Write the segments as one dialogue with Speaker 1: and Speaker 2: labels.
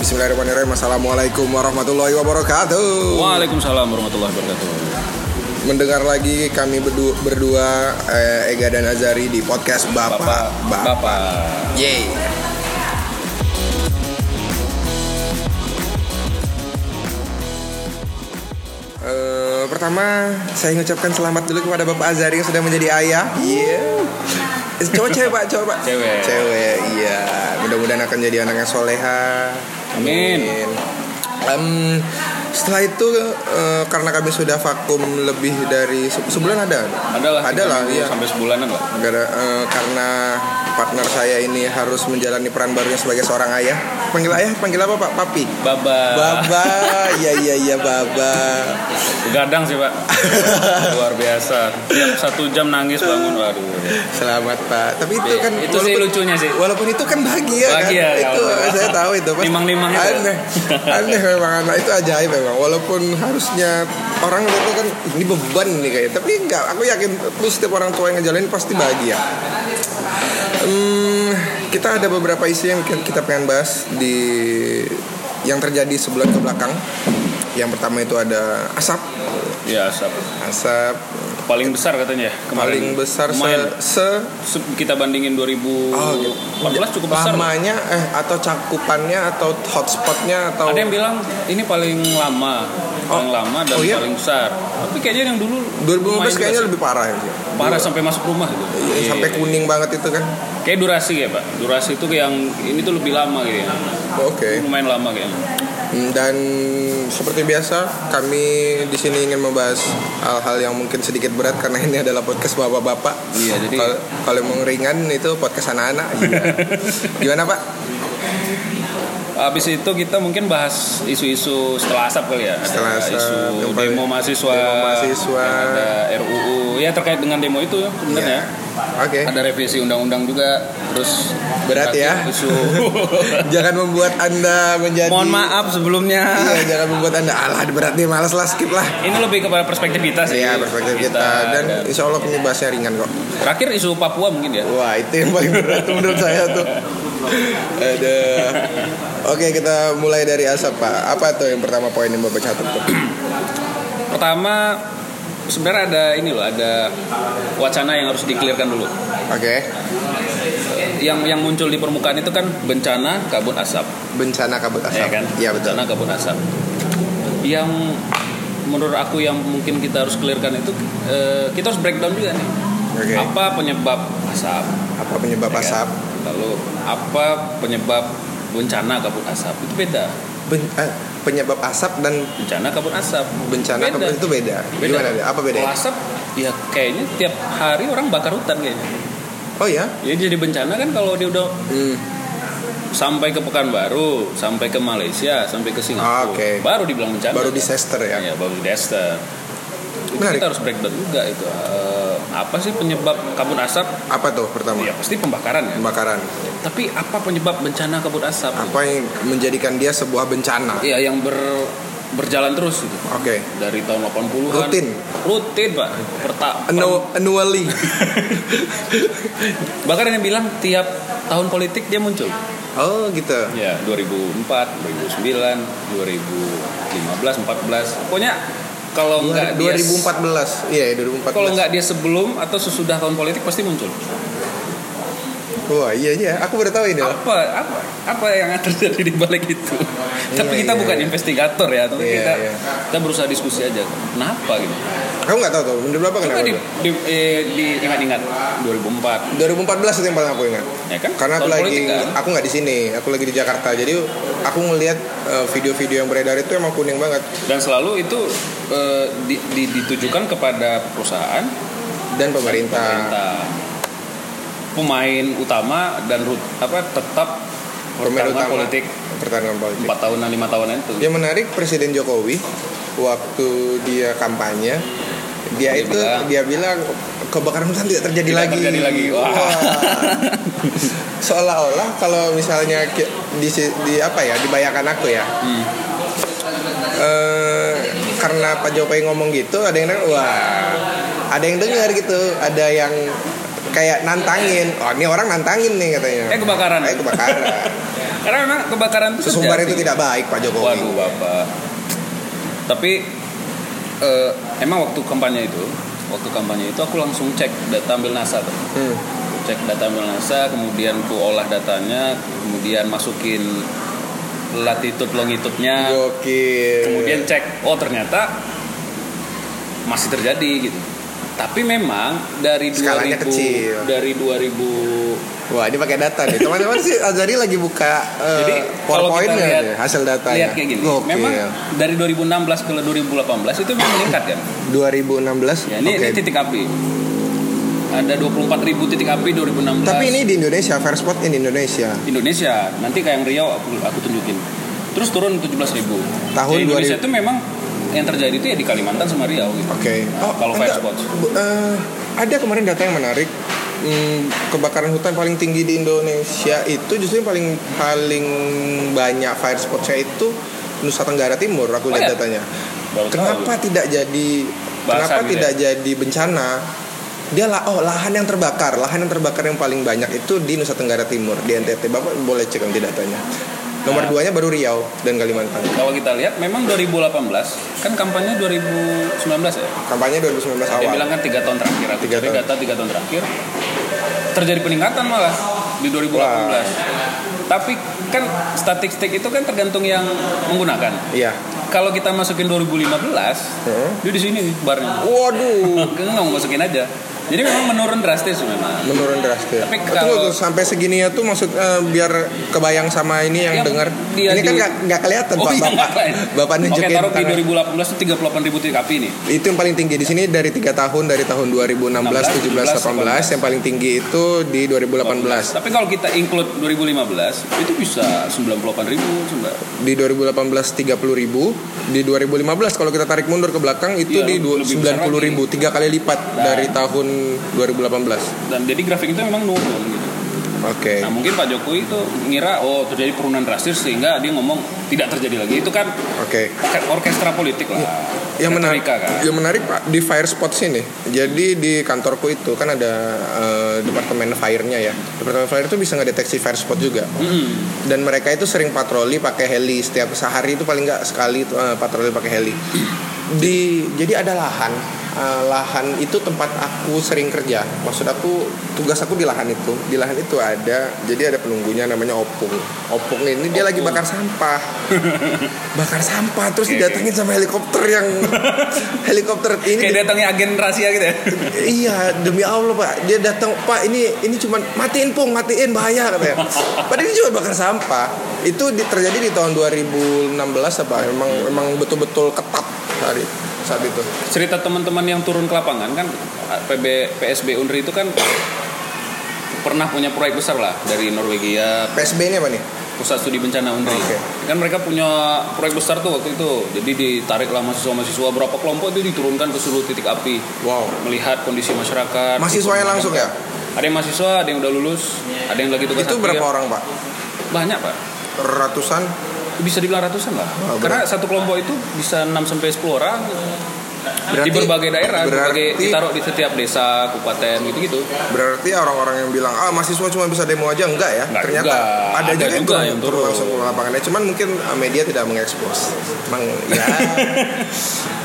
Speaker 1: Bismillahirrahmanirrahim Assalamualaikum warahmatullahi wabarakatuh
Speaker 2: Waalaikumsalam warahmatullahi wabarakatuh.
Speaker 1: Mendengar lagi kami berdu- berdua eh, Ega dan Azari di podcast Bapak
Speaker 2: Bapak,
Speaker 1: Bapak,
Speaker 2: Bapak.
Speaker 1: Yeay. Eh, pertama saya mengucapkan selamat dulu kepada Bapak Azari yang sudah menjadi ayah. Iya. Cowok cewek Pak, cowok Pak.
Speaker 2: Cewek.
Speaker 1: Cewek, iya. Mudah-mudahan akan jadi anak yang soleha.
Speaker 2: Amin.
Speaker 1: Em, setelah itu eh, karena kami sudah vakum lebih dari se- sebulan ada.
Speaker 2: Adalah
Speaker 1: Ada lah, iya.
Speaker 2: sampai sebulanan lah.
Speaker 1: Gara- eh, karena partner saya ini harus menjalani peran barunya sebagai seorang ayah. Panggil ayah, panggil apa Pak? Papi.
Speaker 2: Baba.
Speaker 1: Baba, iya iya iya Baba.
Speaker 2: Gadang sih pak. Luar biasa. Tiap satu jam nangis bangun waduh.
Speaker 1: Selamat Pak. Tapi itu kan
Speaker 2: Iya, itu sih lucunya sih.
Speaker 1: Walaupun itu kan bahagia,
Speaker 2: Bahagia, ya
Speaker 1: kan. Itu
Speaker 2: kalau-
Speaker 1: saya tahu itu Mas.
Speaker 2: Limang-limangnya tuh.
Speaker 1: Aneh. Aneh memang anak itu ajaib memang. Walaupun harusnya orang itu kan ini beban nih kayak. Tapi enggak, aku yakin lu setiap orang tua yang ngejalanin pasti bahagia. Hmm, kita ada beberapa isu yang kita kita pengen bahas di yang terjadi sebulan ke belakang. Yang pertama itu ada asap,
Speaker 2: Ya asap.
Speaker 1: asap
Speaker 2: Paling besar katanya ya kemarin.
Speaker 1: paling besar
Speaker 2: Lumayan.
Speaker 1: se, se
Speaker 2: Se- kita bandingin 2014
Speaker 1: Oh, gitu.
Speaker 2: cukup besar.
Speaker 1: Lamanya eh atau cakupannya atau hotspotnya atau
Speaker 2: Ada yang bilang ini paling lama, paling
Speaker 1: Oh.
Speaker 2: lama dan
Speaker 1: Oh, iya?
Speaker 2: paling besar. Tapi kayaknya yang dulu
Speaker 1: 2015
Speaker 2: lumayan
Speaker 1: kayaknya
Speaker 2: juga
Speaker 1: lebih parah ya. Iya,
Speaker 2: sih. parah sampai masuk rumah gitu. Iya.
Speaker 1: Sampai kuning banget itu kan.
Speaker 2: Kayak durasi ya pak. Durasi itu yang ini tuh lebih lama gitu ya.
Speaker 1: Oke.
Speaker 2: Lumayan lama kayaknya.
Speaker 1: Hmm, Dan seperti biasa kami di sini ingin membahas hal-hal yang mungkin sedikit berat karena ini adalah podcast bapak-bapak.
Speaker 2: Iya, jadi-
Speaker 1: Kalau- kalau mau ringan itu podcast anak-anak. Iya. Gimana Pak?
Speaker 2: Habis itu kita mungkin bahas isu-isu setelah asap kali ya. Ada
Speaker 1: Setelah asap,
Speaker 2: isu
Speaker 1: yang paling-
Speaker 2: demo mahasiswa,
Speaker 1: demo mahasiswa.
Speaker 2: yang ada RUU. Ya terkait dengan demo itu ya
Speaker 1: Iya.
Speaker 2: sebenarnya.
Speaker 1: Oke.
Speaker 2: Ada revisi undang-undang juga. Terus
Speaker 1: Berat
Speaker 2: terkait
Speaker 1: ya.
Speaker 2: Isu.
Speaker 1: Jangan membuat Anda menjadi
Speaker 2: Mohon maaf sebelumnya.
Speaker 1: Iya, jangan membuat Anda alah berat nih, malas lah skip lah.
Speaker 2: Ini lebih kepada perspektif kita sih.
Speaker 1: Iya perspektif kita, dan insya Allah kami bahasnya ringan kok.
Speaker 2: terakhir isu Papua mungkin ya.
Speaker 1: Wah itu yang paling berat menurut saya tuh. Ada. Oke kita mulai dari asap pak. Apa tuh yang pertama poin yang bapak catat tuh?
Speaker 2: Pertama sebenarnya ada ini loh, ada wacana yang harus dikelirkan dulu.
Speaker 1: Oke.
Speaker 2: Yang yang muncul di permukaan itu kan bencana kabut asap.
Speaker 1: Bencana kabut asap.
Speaker 2: Iya kan?
Speaker 1: Iya betul.
Speaker 2: Karena kabut asap. Yang menurut aku yang mungkin kita harus clearkan itu eh, kita harus breakdown juga nih.
Speaker 1: Oke.
Speaker 2: Apa penyebab asap?
Speaker 1: Apa penyebab
Speaker 2: ya kan?
Speaker 1: asap?
Speaker 2: Lalu apa penyebab bencana kabut asap? Itu beda.
Speaker 1: Ben- eh, penyebab asap dan
Speaker 2: Bencana kabut asap.
Speaker 1: bencana
Speaker 2: beda.
Speaker 1: kabut itu beda.
Speaker 2: Beda.
Speaker 1: Gimana? deh? Apa
Speaker 2: Kalau
Speaker 1: bedanya?
Speaker 2: asap ya kayaknya tiap hari orang bakar hutan kayaknya.
Speaker 1: Oh ya.
Speaker 2: Ya jadi bencana kan kalau dia udah
Speaker 1: Hmm.
Speaker 2: sampai ke Pekanbaru, sampai ke Malaysia, sampai ke Singapura,
Speaker 1: Oke.
Speaker 2: baru dibilang bencana.
Speaker 1: Baru
Speaker 2: kan?
Speaker 1: disaster ya.
Speaker 2: Ya, baru disaster. Itu
Speaker 1: Menarik.
Speaker 2: kita harus breakdown juga itu. Eh, apa sih penyebab kabut asap?
Speaker 1: Apa tuh pertama?
Speaker 2: Ya pasti pembakaran ya.
Speaker 1: Pembakaran.
Speaker 2: Tapi apa penyebab bencana kabut asap?
Speaker 1: Apa yang menjadikan dia sebuah bencana?
Speaker 2: Ya yang ber- berjalan terus gitu.
Speaker 1: Oke.
Speaker 2: Dari tahun 80-an.
Speaker 1: Rutin.
Speaker 2: Rutin, Pak. Perta
Speaker 1: Annu- Annually.
Speaker 2: Bahkan yang bilang tiap tahun politik dia muncul.
Speaker 1: Oh gitu.
Speaker 2: Ya, 2004, 2009, 2015, 14. Pokoknya kalau nggak dia
Speaker 1: 2014. Iya, ya, 2014.
Speaker 2: kalau nggak dia sebelum atau sesudah tahun politik pasti muncul.
Speaker 1: Wah, iya iya, aku baru tahu ini. loh.
Speaker 2: Apa apa apa yang terjadi di balik itu? Tapi kita
Speaker 1: iya,
Speaker 2: bukan
Speaker 1: iya.
Speaker 2: investigator ya, tapi
Speaker 1: Iya,
Speaker 2: kita
Speaker 1: iya.
Speaker 2: kita berusaha diskusi aja. Kenapa gitu?
Speaker 1: Kamu nggak tahu tuh, menurut berapa
Speaker 2: Coba
Speaker 1: kenapa?
Speaker 2: di,
Speaker 1: tuh?
Speaker 2: di, eh, diingat-ingat
Speaker 1: 2014
Speaker 2: 2004
Speaker 1: itu yang paling aku ingat.
Speaker 2: ya kan?
Speaker 1: Karena aku
Speaker 2: Tahun
Speaker 1: lagi
Speaker 2: politik, kan?
Speaker 1: aku nggak di sini, aku lagi di Jakarta. Jadi aku ngelihat eh, video-video yang beredar itu emang kuning banget
Speaker 2: dan selalu itu eh, di- di- ditujukan kepada perusahaan
Speaker 1: dan pemerintah
Speaker 2: pemerintah pemain utama dan rut apa tetap
Speaker 1: Pemain
Speaker 2: pertarungan
Speaker 1: utama. Iya,
Speaker 2: politik
Speaker 1: pertahanan politik.
Speaker 2: empat tahunan lima tahunan itu
Speaker 1: Yang menarik Presiden Jokowi waktu dia kampanye dia,
Speaker 2: Dia
Speaker 1: itu
Speaker 2: bilang-
Speaker 1: dia bilang kebakaran hutan tidak terjadi
Speaker 2: Tidak
Speaker 1: lagi.
Speaker 2: terjadi lagi. Wah.
Speaker 1: Seolah-olah kalau misalnya ki- di, si- di apa ya dibayangkan aku ya.
Speaker 2: Hmm.
Speaker 1: Eh, karena Pak Jokowi ngomong gitu ada yang dengar wah ada yang dengar gitu ada yang kayak nantangin oh ini orang nantangin nih katanya
Speaker 2: Eh, kebakaran.
Speaker 1: eh kebakaran
Speaker 2: Karena memang kebakaran itu
Speaker 1: sesumbar
Speaker 2: terjadi.
Speaker 1: itu tidak baik Pak Jokowi
Speaker 2: Waduh bapak. Tapi eh, emang waktu kampanye itu, waktu kampanye itu aku langsung cek data ambil NASA, tuh.
Speaker 1: Hmm.
Speaker 2: cek data ambil NASA, kemudian ku olah datanya, kemudian masukin latitud longitudnya,
Speaker 1: gokil
Speaker 2: Nah, kemudian cek, oh ternyata masih terjadi gitu. Tapi memang dari
Speaker 1: Skalanya
Speaker 2: 2000
Speaker 1: kecil.
Speaker 2: dari 2000
Speaker 1: Wah ini pakai data nih teman-teman sih Azari lagi buka eh,
Speaker 2: Jadi kalau
Speaker 1: PowerPoint
Speaker 2: kita lihat
Speaker 1: hasil datanya.
Speaker 2: lihat kayak gini.
Speaker 1: Gokil.
Speaker 2: Memang dari 2016 ke 2018 itu memang meningkat kan.
Speaker 1: 2016.
Speaker 2: Ya, ini,
Speaker 1: Oke.
Speaker 2: ini titik api. Ada 24.000 titik api 2016.
Speaker 1: Tapi ini di Indonesia, fair spot di Indonesia.
Speaker 2: Indonesia. Nanti kayak yang Riau aku, aku tunjukin. Terus turun 17.000.
Speaker 1: Tahun
Speaker 2: Jadi Indonesia
Speaker 1: 2000.
Speaker 2: itu memang yang terjadi itu ya di Kalimantan sama Riau gitu.
Speaker 1: Oke.
Speaker 2: Nah, kalau fair
Speaker 1: Oh, enggak.
Speaker 2: spot.
Speaker 1: Bu- eh, ada kemarin data yang menarik. Hmm, kebakaran hutan paling tinggi di Indonesia itu justru yang paling paling banyak fire spotnya itu Nusa Tenggara Timur aku
Speaker 2: Oh,
Speaker 1: lihat
Speaker 2: ya?
Speaker 1: datanya.
Speaker 2: Baru tahu.
Speaker 1: Kenapa tidak jadi
Speaker 2: Basah
Speaker 1: kenapa
Speaker 2: gitu
Speaker 1: tidak jadi bencana? Dia lah oh lahan yang terbakar, lahan yang terbakar yang paling banyak itu di Nusa Tenggara Timur di NTT. Bapak boleh cek nanti datanya. Nomor
Speaker 2: Nah.
Speaker 1: duanya baru Riau dan Kalimantan.
Speaker 2: Kalau kita lihat memang 2018 kan kampanye 2019 ya.
Speaker 1: Kampanye 2019
Speaker 2: Dia
Speaker 1: awal.
Speaker 2: bilang kan tiga tahun terakhir. Aku
Speaker 1: Tiga
Speaker 2: cari
Speaker 1: tahun.
Speaker 2: data tiga tahun terakhir terjadi peningkatan malah di 2018.
Speaker 1: Wah.
Speaker 2: Tapi kan statistik itu kan tergantung yang menggunakan.
Speaker 1: Iya.
Speaker 2: Kalau kita masukin 2015,
Speaker 1: Heeh.
Speaker 2: dia di sini nih
Speaker 1: Oh.
Speaker 2: barnya.
Speaker 1: Waduh,
Speaker 2: Kita nggak mau masukin aja. Jadi memang menurun drastis memang.
Speaker 1: menurun drastis.
Speaker 2: Tapi
Speaker 1: Betul,
Speaker 2: kalau-
Speaker 1: tuh, sampai segininya tuh maksud eh, biar kebayang sama ini yang
Speaker 2: Yang
Speaker 1: dengar.
Speaker 2: dia
Speaker 1: Ini kan
Speaker 2: di-
Speaker 1: nggak nggak kelihatan Pak
Speaker 2: iya,
Speaker 1: Bapak.
Speaker 2: ngapain?
Speaker 1: Bapak
Speaker 2: Oke,
Speaker 1: nunjukin
Speaker 2: taruh di
Speaker 1: tangan.
Speaker 2: 2018 itu 38 ribu titik api nih.
Speaker 1: Itu yang paling tinggi di sini dari tiga tahun dari tahun 2016, 17, 18 yang paling tinggi itu di 2018.
Speaker 2: Tapi kalau kita include 2015, itu bisa 98 ribu.
Speaker 1: Di 2018 30.000, di 2015 kalau kita tarik mundur ke belakang itu
Speaker 2: Iya,
Speaker 1: di
Speaker 2: lebih besar
Speaker 1: 90.000, tiga kali lipat
Speaker 2: Nah.
Speaker 1: dari tahun 2018.
Speaker 2: Dan jadi grafik itu memang nurun gitu.
Speaker 1: Oke.
Speaker 2: Nah mungkin Pak Jokowi itu ngira oh terjadi penurunan drastis sehingga dia ngomong tidak terjadi lagi itu kan
Speaker 1: Oke.
Speaker 2: orke- orkestra politik lah.
Speaker 1: Iya. yang menarik
Speaker 2: Retorika kan.
Speaker 1: yang menarik pak di fire spot sini jadi di kantorku itu kan ada eh, departemen fire-nya ya departemen fire itu bisa ngedeteksi fire spot juga
Speaker 2: Mm-mm.
Speaker 1: dan mereka itu sering patroli pakai heli setiap sehari itu paling nggak sekali itu, eh, patroli pakai heli di jadi ada lahan Eh, lahan itu tempat aku sering kerja maksud aku tugas aku di lahan itu di lahan itu ada jadi ada penunggunya namanya opung opung ini dia lagi bakar sampah bakar sampah terus
Speaker 2: Oke,
Speaker 1: didatengin sama helikopter yang helikopter ini
Speaker 2: Kayak datangnya agen rahasia gitu ya.
Speaker 1: Iya demi Allah pak dia datang pak ini ini cuman matiin pung matiin bahaya katanya. Padahal ini cuma bakar sampah. Itu di- terjadi di tahun 2016 apa emang emang betul-betul ketat hari saat itu.
Speaker 2: Cerita teman-teman yang turun ke lapangan kan PB PSB Unri itu kan pernah punya proyek besar lah dari Norwegia
Speaker 1: PSB ini apa nih?
Speaker 2: pusat studi bencana Unri
Speaker 1: Oke.
Speaker 2: kan mereka punya proyek besar tuh waktu itu jadi ditarik lah mahasiswa-mahasiswa berapa kelompok itu diturunkan ke seluruh titik api
Speaker 1: Wow.
Speaker 2: melihat kondisi masyarakat
Speaker 1: Mahasiswanya langsung ya?
Speaker 2: ada yang mahasiswa ada yang udah lulus ada yang lagi tugas
Speaker 1: Itu
Speaker 2: akhir.
Speaker 1: berapa orang pak?
Speaker 2: banyak pak
Speaker 1: Ratusan.
Speaker 2: bisa dibilang ratusan lah
Speaker 1: Oh,
Speaker 2: karena satu kelompok itu bisa 6 sampai 10 orang
Speaker 1: Berarti-
Speaker 2: di berbagai daerah di berbagai
Speaker 1: berarti-
Speaker 2: ditaruh di setiap desa kabupaten gitu-gitu
Speaker 1: Berarti orang-orang yang bilang ah mahasiswa cuma bisa demo aja enggak ya?
Speaker 2: Enggak
Speaker 1: Ternyata
Speaker 2: juga.
Speaker 1: ada,
Speaker 2: Ada
Speaker 1: juga,
Speaker 2: juga
Speaker 1: yang
Speaker 2: yang
Speaker 1: turun
Speaker 2: turun.
Speaker 1: langsung ke lapangannya. Cuman mungkin eh, media tidak mengekspos. Emang ya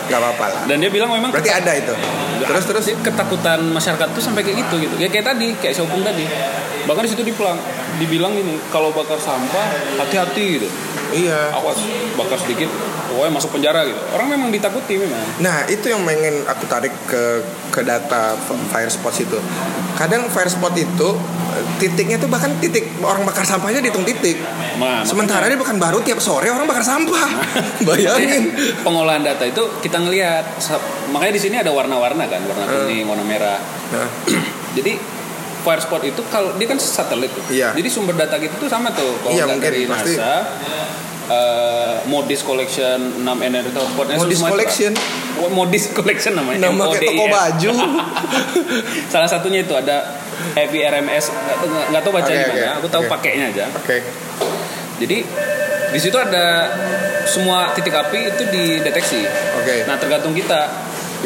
Speaker 1: nggak apa-apa lah.
Speaker 2: dan dia bilang memang
Speaker 1: Berarti ada itu. Terus terus
Speaker 2: Jadi ketakutan masyarakat tuh sampai kayak gitu gitu ya kayak tadi kayak Sopung tadi bahkan di situ dipelang dibilang gini kalau bakar sampah hati-hati gitu
Speaker 1: iya.
Speaker 2: awas bakar sedikit pokoknya masuk penjara gitu orang memang ditakuti memang
Speaker 1: Nah itu yang pengen aku tarik ke ke data f- fire spots itu. Kadang fire spot itu eh, titiknya tuh bahkan titik orang bakar sampahnya dihitung titik.
Speaker 2: Nah,
Speaker 1: Sementara di Pekanbaru tiap sore orang bakar sampah. Bayangin.
Speaker 2: pengolahan data itu kita ngelihat sa- makanya di sini ada warna-warna kan warna kuning warna merah
Speaker 1: Nah,
Speaker 2: jadi fire spot itu kalau dia kan satelit tuh.
Speaker 1: Iya.
Speaker 2: jadi sumber data kita tuh sama tuh kalau
Speaker 1: Iya,
Speaker 2: nggak
Speaker 1: mungkin,
Speaker 2: dari
Speaker 1: pasti.
Speaker 2: NASA eh, Modis Collection 6 Energy Transportnya
Speaker 1: Modis Collection?
Speaker 2: Wah, Modis Collection
Speaker 1: Nama
Speaker 2: namanya
Speaker 1: kayak
Speaker 2: MODIS.
Speaker 1: toko baju.
Speaker 2: ya. salah satunya itu ada Heavy RMS nggak tahu- nggak tahu bacanya
Speaker 1: Oke, oke,
Speaker 2: gimana aku tahu
Speaker 1: oke.
Speaker 2: pakainya aja
Speaker 1: Oke.
Speaker 2: jadi di situ ada semua titik api itu dideteksi
Speaker 1: Oke.
Speaker 2: Nah tergantung kita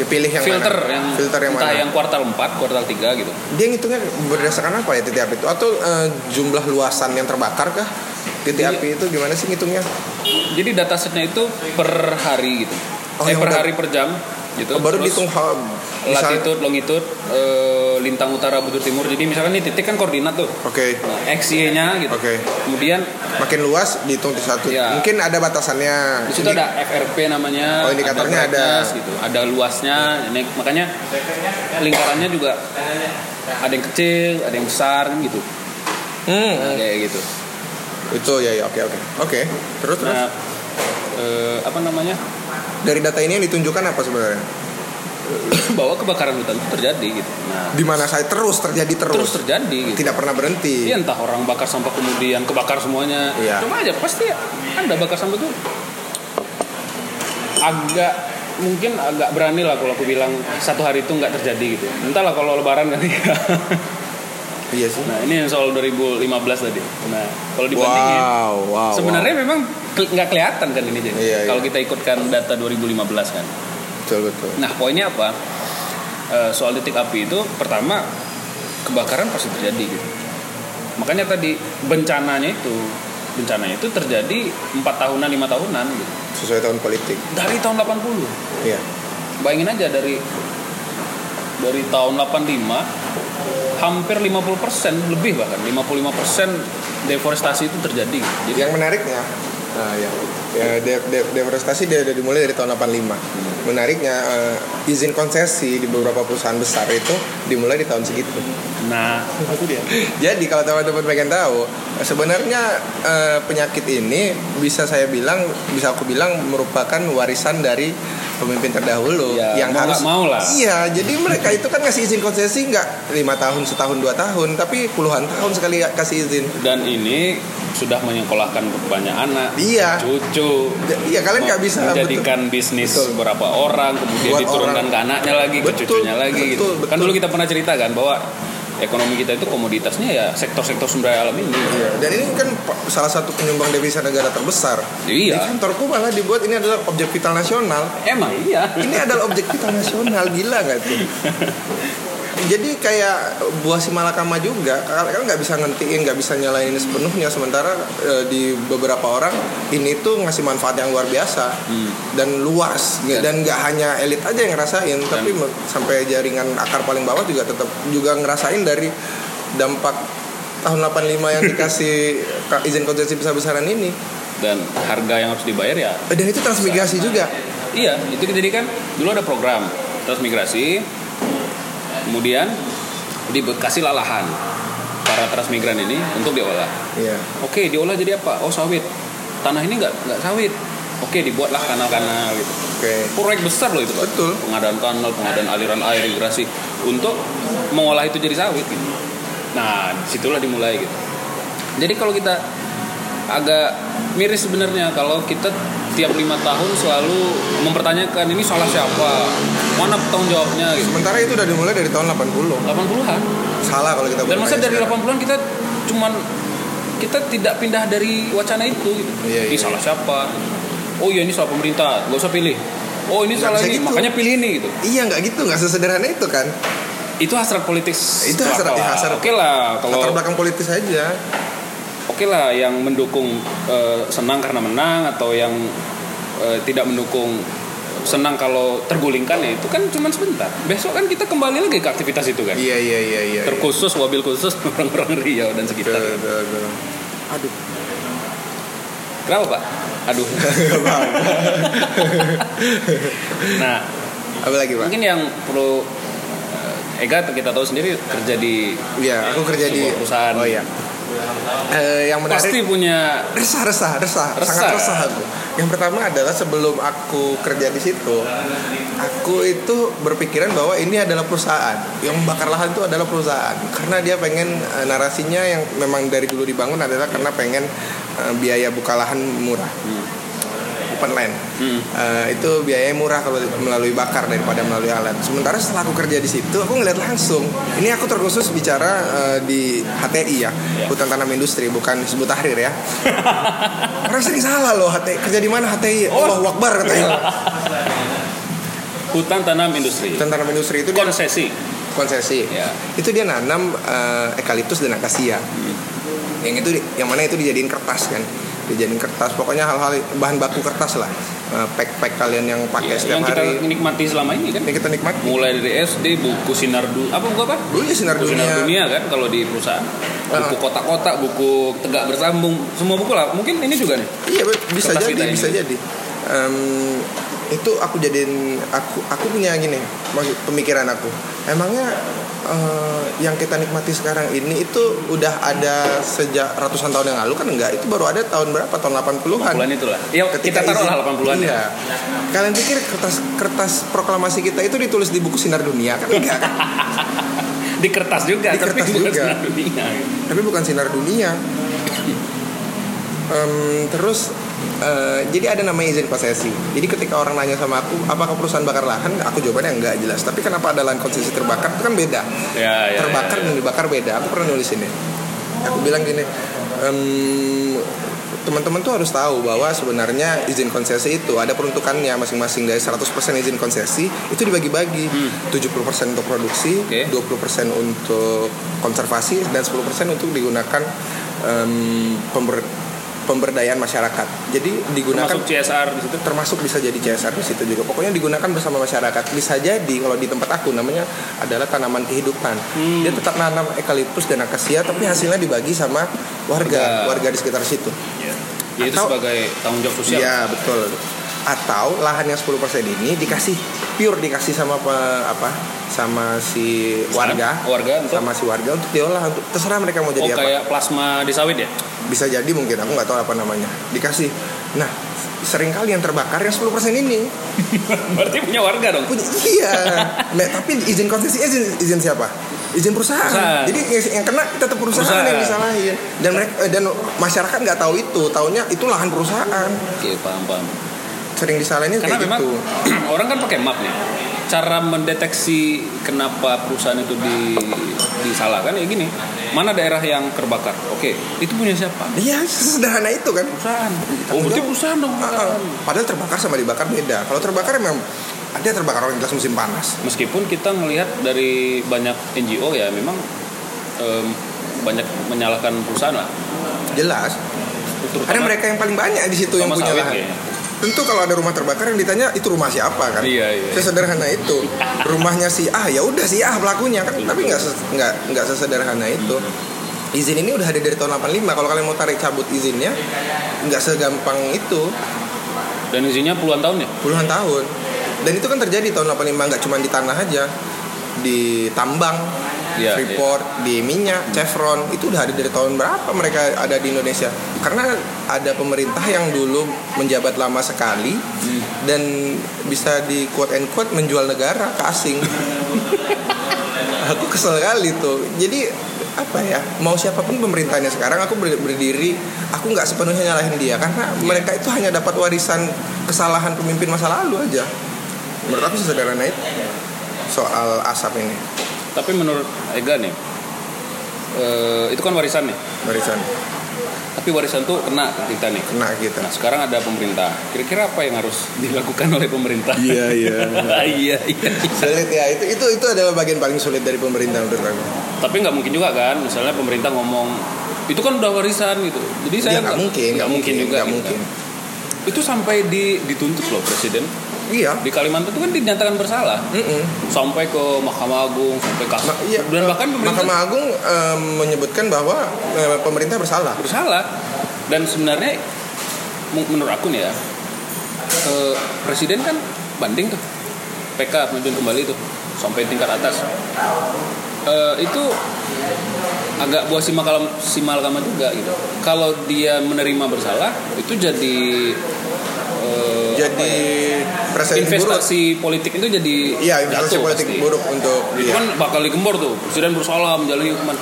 Speaker 1: Ya pilih yang
Speaker 2: filter
Speaker 1: mana?
Speaker 2: yang
Speaker 1: filter yang
Speaker 2: entah
Speaker 1: mana?
Speaker 2: yang kuartal 4, kuartal 3 gitu.
Speaker 1: Dia ngitungnya berdasarkan apa ya titik api itu? Atau eh, jumlah luasan yang terbakar kah? Titik
Speaker 2: Iya.
Speaker 1: api itu gimana sih ngitungnya?
Speaker 2: Jadi datasetnya itu per hari gitu.
Speaker 1: Oh,
Speaker 2: eh,
Speaker 1: yang
Speaker 2: per
Speaker 1: udah- Oh,
Speaker 2: hari per jam gitu.
Speaker 1: Baru
Speaker 2: Terus
Speaker 1: dihitung hal misalnya-
Speaker 2: latitude, longitude, eh, lintang utara, bujur timur. Jadi misalkan nih titik kan koordinat tuh.
Speaker 1: Oke.
Speaker 2: Nah, X, Y-nya gitu.
Speaker 1: Oke.
Speaker 2: Kemudian
Speaker 1: Makin luas dihitung di satu.
Speaker 2: Iya.
Speaker 1: Mungkin ada batasannya.
Speaker 2: di situ
Speaker 1: Jadi-
Speaker 2: ada FRP namanya,
Speaker 1: Oh, indikatornya ada.
Speaker 2: brightness gitu, ada luasnya, ini makanya lingkarannya juga ada yang kecil, ada yang besar kan gitu,
Speaker 1: Hmm.
Speaker 2: Nah, kayak gitu.
Speaker 1: Itu ya ya oke oke. Oke. Terus terus
Speaker 2: Nah, eh, apa namanya
Speaker 1: dari data ini yang ditunjukkan apa sebenarnya?
Speaker 2: bahwa kebakaran hutan itu terjadi gitu. Nah,
Speaker 1: Di mana saya terus terjadi
Speaker 2: terus
Speaker 1: terus.
Speaker 2: terjadi gitu.
Speaker 1: Tidak pernah berhenti.
Speaker 2: Iya entah orang bakar sampah kemudian kebakar semuanya.
Speaker 1: Iya.
Speaker 2: Cuma aja pasti anda bakar sampah itu agak mungkin agak berani lah kalau aku bilang satu hari itu nggak terjadi gitu. Entahlah kalau lebaran kali ya.
Speaker 1: Iya sih.
Speaker 2: nah ini yang soal 2015 tadi. Nah kalau dibandingin
Speaker 1: Wow, wow.
Speaker 2: sebenarnya memang kel- nggak kelihatan kan ini jadi.
Speaker 1: Iya,
Speaker 2: kalau
Speaker 1: iya.
Speaker 2: kita ikutkan data 2015 kan.
Speaker 1: wow. betul betul.
Speaker 2: Nah poinnya apa? Eh, soal titik api itu pertama kebakaran pasti terjadi gitu. Makanya tadi bencananya itu bencana itu terjadi empat tahunan lima tahunan gitu.
Speaker 1: Sesuai tahun politik.
Speaker 2: dari tahun 80
Speaker 1: Iya.
Speaker 2: bayangin aja dari dari tahun 85 hampir 50% lebih bahkan 55% deforestasi itu terjadi gitu. jadi
Speaker 1: Yang menariknya, nah ya, ya de- de- deforestasi dia udah dimulai dari tahun 85.
Speaker 2: Hmm.
Speaker 1: Menariknya eh, izin konsesi di beberapa perusahaan besar itu dimulai di tahun segitu.
Speaker 2: nah
Speaker 1: Jadi kalau teman-teman pengen tahu, sebenarnya eh, penyakit ini bisa saya bilang, bisa aku bilang merupakan warisan dari pemimpin terdahulu
Speaker 2: Iya,
Speaker 1: yang
Speaker 2: mau
Speaker 1: harus
Speaker 2: nggak mau lah.
Speaker 1: Iya, jadi mereka itu kan ngasih izin konsesi nggak lima tahun, setahun, dua tahun, tapi puluhan tahun sekali kasih izin.
Speaker 2: dan ini sudah menyekolahkan banyak anak
Speaker 1: Iya.
Speaker 2: cucu
Speaker 1: Iya kalian nggak bisa betul.
Speaker 2: menjadikan bisnis
Speaker 1: Betul.
Speaker 2: berapa orang kemudian
Speaker 1: Buat
Speaker 2: diturunkan
Speaker 1: orang.
Speaker 2: ke anaknya lagi ke
Speaker 1: Betul,
Speaker 2: cucunya lagi gitu.
Speaker 1: betul, betul.
Speaker 2: kan dulu kita pernah cerita kan bahwa ekonomi kita itu komoditasnya ya sektor-sektor sumber daya alam ini
Speaker 1: Iya, Dan ini kan pe- salah satu penyumbang devisa negara terbesar.
Speaker 2: iya
Speaker 1: Di kantorku malah dibuat ini adalah objek vital nasional.
Speaker 2: emang iya
Speaker 1: ini adalah objek vital nasional gila nggak tuh jadi kayak buah si malakama juga kalian nggak bisa ngentiin nggak bisa nyalain ini sepenuhnya sementara eh, di beberapa orang ini tuh ngasih manfaat yang luar biasa dan luas Nggak- dan nggak hanya elit aja yang ngerasain tapi me- sampai jaringan akar paling bawah juga tetap juga ngerasain dari dampak tahun 85 yang dikasih ka- izin konsesi besar-besaran ini
Speaker 2: dan harga yang harus dibayar ya
Speaker 1: Eh, dan itu transmigrasi juga
Speaker 2: iya itu jadi kan dulu ada program transmigrasi kemudian dikasih lalahan para transmigran ini untuk diolah
Speaker 1: iya
Speaker 2: Oke, diolah jadi apa? Oh, sawit. Tanah ini nggak nggak sawit. Oke, dibuatlah kanal-kanal gitu.
Speaker 1: oke
Speaker 2: Proyek besar loh itu, Pak.
Speaker 1: Betul.
Speaker 2: Pengadaan kanal, pengadaan aliran air, irigasi untuk mengolah itu jadi sawit gitu. Nah, disitulah dimulai gitu. Jadi kalau kita agak miris sebenarnya kalau kita tiap lima tahun selalu mempertanyakan ini salah siapa, mana tanggung jawabnya gitu.
Speaker 1: Sementara itu udah dimulai dari tahun 80.
Speaker 2: 80-an.
Speaker 1: Salah kalau kita
Speaker 2: Dan masa
Speaker 1: bertanya
Speaker 2: dari
Speaker 1: sekarang.
Speaker 2: 80-an kita cuman kita tidak pindah dari wacana itu gitu.
Speaker 1: Iya,
Speaker 2: ini
Speaker 1: iya.
Speaker 2: salah siapa? Oh iya ini salah pemerintah, gak usah pilih. Oh ini
Speaker 1: Nggak
Speaker 2: salah
Speaker 1: bisa
Speaker 2: ini,
Speaker 1: gitu.
Speaker 2: makanya pilih ini gitu.
Speaker 1: Iya nggak gitu, nggak sesederhana itu kan.
Speaker 2: Itu hasrat politik.
Speaker 1: Itu hasrat- ya,
Speaker 2: belaka lah.
Speaker 1: hasrat.
Speaker 2: Oke lah kalau
Speaker 1: Latar
Speaker 2: oke
Speaker 1: belakang politis aja.
Speaker 2: lah yang mendukung eh, senang karena menang atau yang eh, tidak mendukung eh, senang kalau tergulingkan ya itu kan cuman sebentar. Besok kan kita kembali lagi ke aktivitas itu kan.
Speaker 1: Iya iya iya iya.
Speaker 2: Terkhusus wabil khusus orang-orang Riau dan
Speaker 1: Iya.
Speaker 2: sekitar.
Speaker 1: Tuh, tuh, tuh. Aduh.
Speaker 2: Kenapa Pak? Aduh.
Speaker 1: Nggak paham.
Speaker 2: Nah,
Speaker 1: Apa lagi pak?
Speaker 2: mungkin yang perlu eh, Ega kita tahu sendiri kerja di
Speaker 1: Iya, aku kerja di
Speaker 2: Sebuah perusahaan.
Speaker 1: Oh iya. Eh, yang menarik
Speaker 2: pasti punya
Speaker 1: resah resah resah
Speaker 2: Resah. ya?
Speaker 1: sangat resah aku yang pertama adalah sebelum aku kerja di situ aku itu berpikiran bahwa ini adalah perusahaan yang bakar lahan itu adalah perusahaan karena dia pengen eh, narasinya yang memang dari dulu dibangun adalah karena pengen eh, biaya buka lahan murah open land
Speaker 2: hmm,
Speaker 1: Eh, itu biayanya murah kalau melalui bakar daripada melalui alat. Sementara setelah aku kerja di situ, aku ngeliat langsung. Ini aku terkhusus bicara eh, di HTI ya, hutan tanam industri, bukan Hizbut Tahrir ya. Karena sering salah loh HTI. Kerja di mana HTI?
Speaker 2: Oh.
Speaker 1: Oh, Wakbar katanya.
Speaker 2: Hutan tanam industri.
Speaker 1: Hutan tanam industri itu dia
Speaker 2: Konsesi.
Speaker 1: konsesi.
Speaker 2: Ya.
Speaker 1: Itu dia nanam eh, eukaliptus dan akasia.
Speaker 2: Hmm.
Speaker 1: Yang itu di- yang mana itu dijadiin kertas kan. Dijadiin kertas, pokoknya hal-hal bahan baku kertas lah. Eh, pack-pack kalian yang pakai
Speaker 2: Ya,
Speaker 1: Iya, setiap
Speaker 2: yang
Speaker 1: hari.
Speaker 2: kita nikmati selama ini kan.
Speaker 1: Yang kita nikmati.
Speaker 2: Mulai dari SD buku sinar dunia apa buku apa?
Speaker 1: Dulu ya sinar
Speaker 2: Buku sinar
Speaker 1: dunia.
Speaker 2: dunia kan kalau di perusahaan. Buku
Speaker 1: Ah.
Speaker 2: kotak-kotak, buku tegak bersambung, semua buku lah. Mungkin ini juga nih.
Speaker 1: Iya be- bisa
Speaker 2: Kertas
Speaker 1: jadi
Speaker 2: kita ini.
Speaker 1: bisa jadi. Em, itu aku jadiin aku aku punya gini maksud pemikiran aku. Emangnya eh, yang kita nikmati sekarang ini itu udah ada sejak ratusan tahun yang lalu kan enggak? Itu baru ada tahun berapa? Tahun 80-an.
Speaker 2: Bulan itulah. Ya, kita
Speaker 1: Kan. Ketika
Speaker 2: taruh
Speaker 1: izin-
Speaker 2: lah 80-an ya.
Speaker 1: iya. Kalian pikir kertas kertas proklamasi kita itu ditulis di buku Sinar Dunia kan enggak? kan?
Speaker 2: Di kertas juga,
Speaker 1: Di
Speaker 2: tapi
Speaker 1: kertas
Speaker 2: bukan
Speaker 1: juga.
Speaker 2: sinar dunia. Ya,
Speaker 1: tapi bukan sinar dunia. Em, terus eh, jadi ada namanya izin konsesi. Jadi ketika orang nanya sama aku, apakah perusahaan bakar lahan? Aku jawabannya enggak jelas. Tapi kenapa ada lahan konsesi terbakar? Itu kan beda.
Speaker 2: Ya, ya,
Speaker 1: terbakar
Speaker 2: ya,
Speaker 1: dan dibakar beda. Aku pernah nulis ini. Aku bilang gini, em, teman-teman tuh harus tahu bahwa sebenarnya izin konsesi itu ada peruntukannya masing-masing dari 100% izin konsesi itu dibagi-bagi. 70% untuk produksi,
Speaker 2: Oke.
Speaker 1: 20% untuk konservasi dan 10% untuk digunakan em, pember- pemberdayaan masyarakat. Jadi
Speaker 2: ya.
Speaker 1: digunakan
Speaker 2: Masuk CSR di situ.
Speaker 1: termasuk bisa jadi CSR di situ juga. Pokoknya digunakan bersama masyarakat. Bisa jadi kalau di tempat aku namanya adalah tanaman kehidupan.
Speaker 2: Hmm.
Speaker 1: Dia tetap nanam eukaliptus dan akasia tapi hasilnya dibagi sama warga,
Speaker 2: Warga.
Speaker 1: warga di sekitar situ.
Speaker 2: Ya. Ya, itu
Speaker 1: Atau-
Speaker 2: sebagai tanggung jawab sosial.
Speaker 1: Iya, betul. Atau lahan yang 10% ini dikasih pure dikasih sama apa, apa sama si warga
Speaker 2: warga untuk
Speaker 1: sama si warga untuk diolah untuk terserah mereka mau
Speaker 2: Oh
Speaker 1: jadi apa
Speaker 2: kayak plasma di sawit ya?
Speaker 1: bisa jadi mungkin aku nggak tahu apa namanya dikasih nah seringkali yang terbakar yang 10% ini
Speaker 2: Berarti punya warga dong.
Speaker 1: Punya- iya. Me- tapi izin konsesi izin, izin siapa? Izin perusahaan.
Speaker 2: Perusahaan.
Speaker 1: Jadi yang, yang kena tetap perusahaan,
Speaker 2: Perusahaan.
Speaker 1: yang disalahin. Dan mereka eh, dan masyarakat nggak tahu itu. Taunya itu lahan perusahaan.
Speaker 2: Oke paham paham.
Speaker 1: Sering disalahinnya
Speaker 2: Karena
Speaker 1: kayak
Speaker 2: memang
Speaker 1: gitu.
Speaker 2: orang kan pakai map nih. Cara mendeteksi kenapa perusahaan itu di disalahkan ya gini. Mana daerah yang terbakar? Oke, itu punya siapa?
Speaker 1: Iya, sederhana itu kan.
Speaker 2: Perusahaan. Oh berarti perusahaan dong.
Speaker 1: Ah, ah. Padahal terbakar sama dibakar beda. Kalau terbakar memang ada terbakar orang jelas musim panas.
Speaker 2: Meskipun kita melihat dari banyak NGO ya memang em, banyak menyalahkan perusahaan lah.
Speaker 1: Jelas.
Speaker 2: Terutama,
Speaker 1: Ada mereka yang paling banyak di situ yang
Speaker 2: terutama
Speaker 1: punya
Speaker 2: sawit ya.
Speaker 1: lahan.
Speaker 2: kayaknya.
Speaker 1: Tentu kalau ada rumah terbakar yang ditanya itu rumah siapa kan?
Speaker 2: Iya iya.
Speaker 1: sesederhana itu rumahnya si ah ya udah si ah pelakunya kan tapi nggak ses- nggak nggak sesederhana itu izin ini udah ada dari tahun 85 kalau kalian mau tarik cabut izinnya nggak segampang itu
Speaker 2: Dan izinnya puluhan tahun ya.
Speaker 1: puluhan tahun dan itu kan terjadi tahun 85 nggak cuma di tanah aja di tambang Ah,
Speaker 2: Iya,
Speaker 1: Freeport di minyak Chevron itu udah ada dari tahun berapa mereka ada di Indonesia karena ada pemerintah yang dulu menjabat lama sekali dan bisa di quote and quote menjual negara ke asing aku kesel kali tuh jadi apa ya mau siapapun pemerintahnya sekarang aku ber- berdiri aku nggak sepenuhnya nyalahin dia karena mereka itu hanya dapat warisan kesalahan pemimpin masa lalu aja menurut aku sesederhana itu soal asap ini
Speaker 2: Tapi menurut Ega nih, eh, itu kan warisan nih.
Speaker 1: warisan
Speaker 2: Tapi warisan tuh kena ke kita nih.
Speaker 1: kena kita
Speaker 2: Nah sekarang ada pemerintah. Kira-kira apa yang harus dilakukan oleh pemerintah?
Speaker 1: Iya, iya.
Speaker 2: iya iya.
Speaker 1: sulit ya itu itu itu adalah bagian paling sulit dari pemerintah menurut aku
Speaker 2: Tapi nggak mungkin juga kan, misalnya pemerintah ngomong itu kan udah warisan gitu. Jadi saya
Speaker 1: ya nggak mungkin
Speaker 2: nggak mungkin juga.
Speaker 1: nggak
Speaker 2: gitu.
Speaker 1: mungkin
Speaker 2: Itu sampai di dituntut loh presiden
Speaker 1: iya
Speaker 2: di Kalimantan itu kan dinyatakan bersalah
Speaker 1: Mm-mm.
Speaker 2: sampai ke Mahkamah Agung sampai ke
Speaker 1: Ma- iya,
Speaker 2: dan bahkan pemerintah
Speaker 1: Mahkamah Agung eh, menyebutkan bahwa eh, pemerintah bersalah
Speaker 2: bersalah dan sebenarnya mu- menurut aku nih ya eh, presiden kan banding tuh PK penunjukan kembali tuh sampai tingkat atas Eh, itu agak buah simakalam simalakama juga gitu kalau dia menerima bersalah itu jadi eh, apa
Speaker 1: jadi
Speaker 2: ya,
Speaker 1: presiden buruk
Speaker 2: investasi politik itu jadi
Speaker 1: Iya, investasi
Speaker 2: jatuh
Speaker 1: politik
Speaker 2: pasti.
Speaker 1: buruk untuk dia.
Speaker 2: Itu kan bakal digembor tuh. Presiden bersalah menjalani hukuman.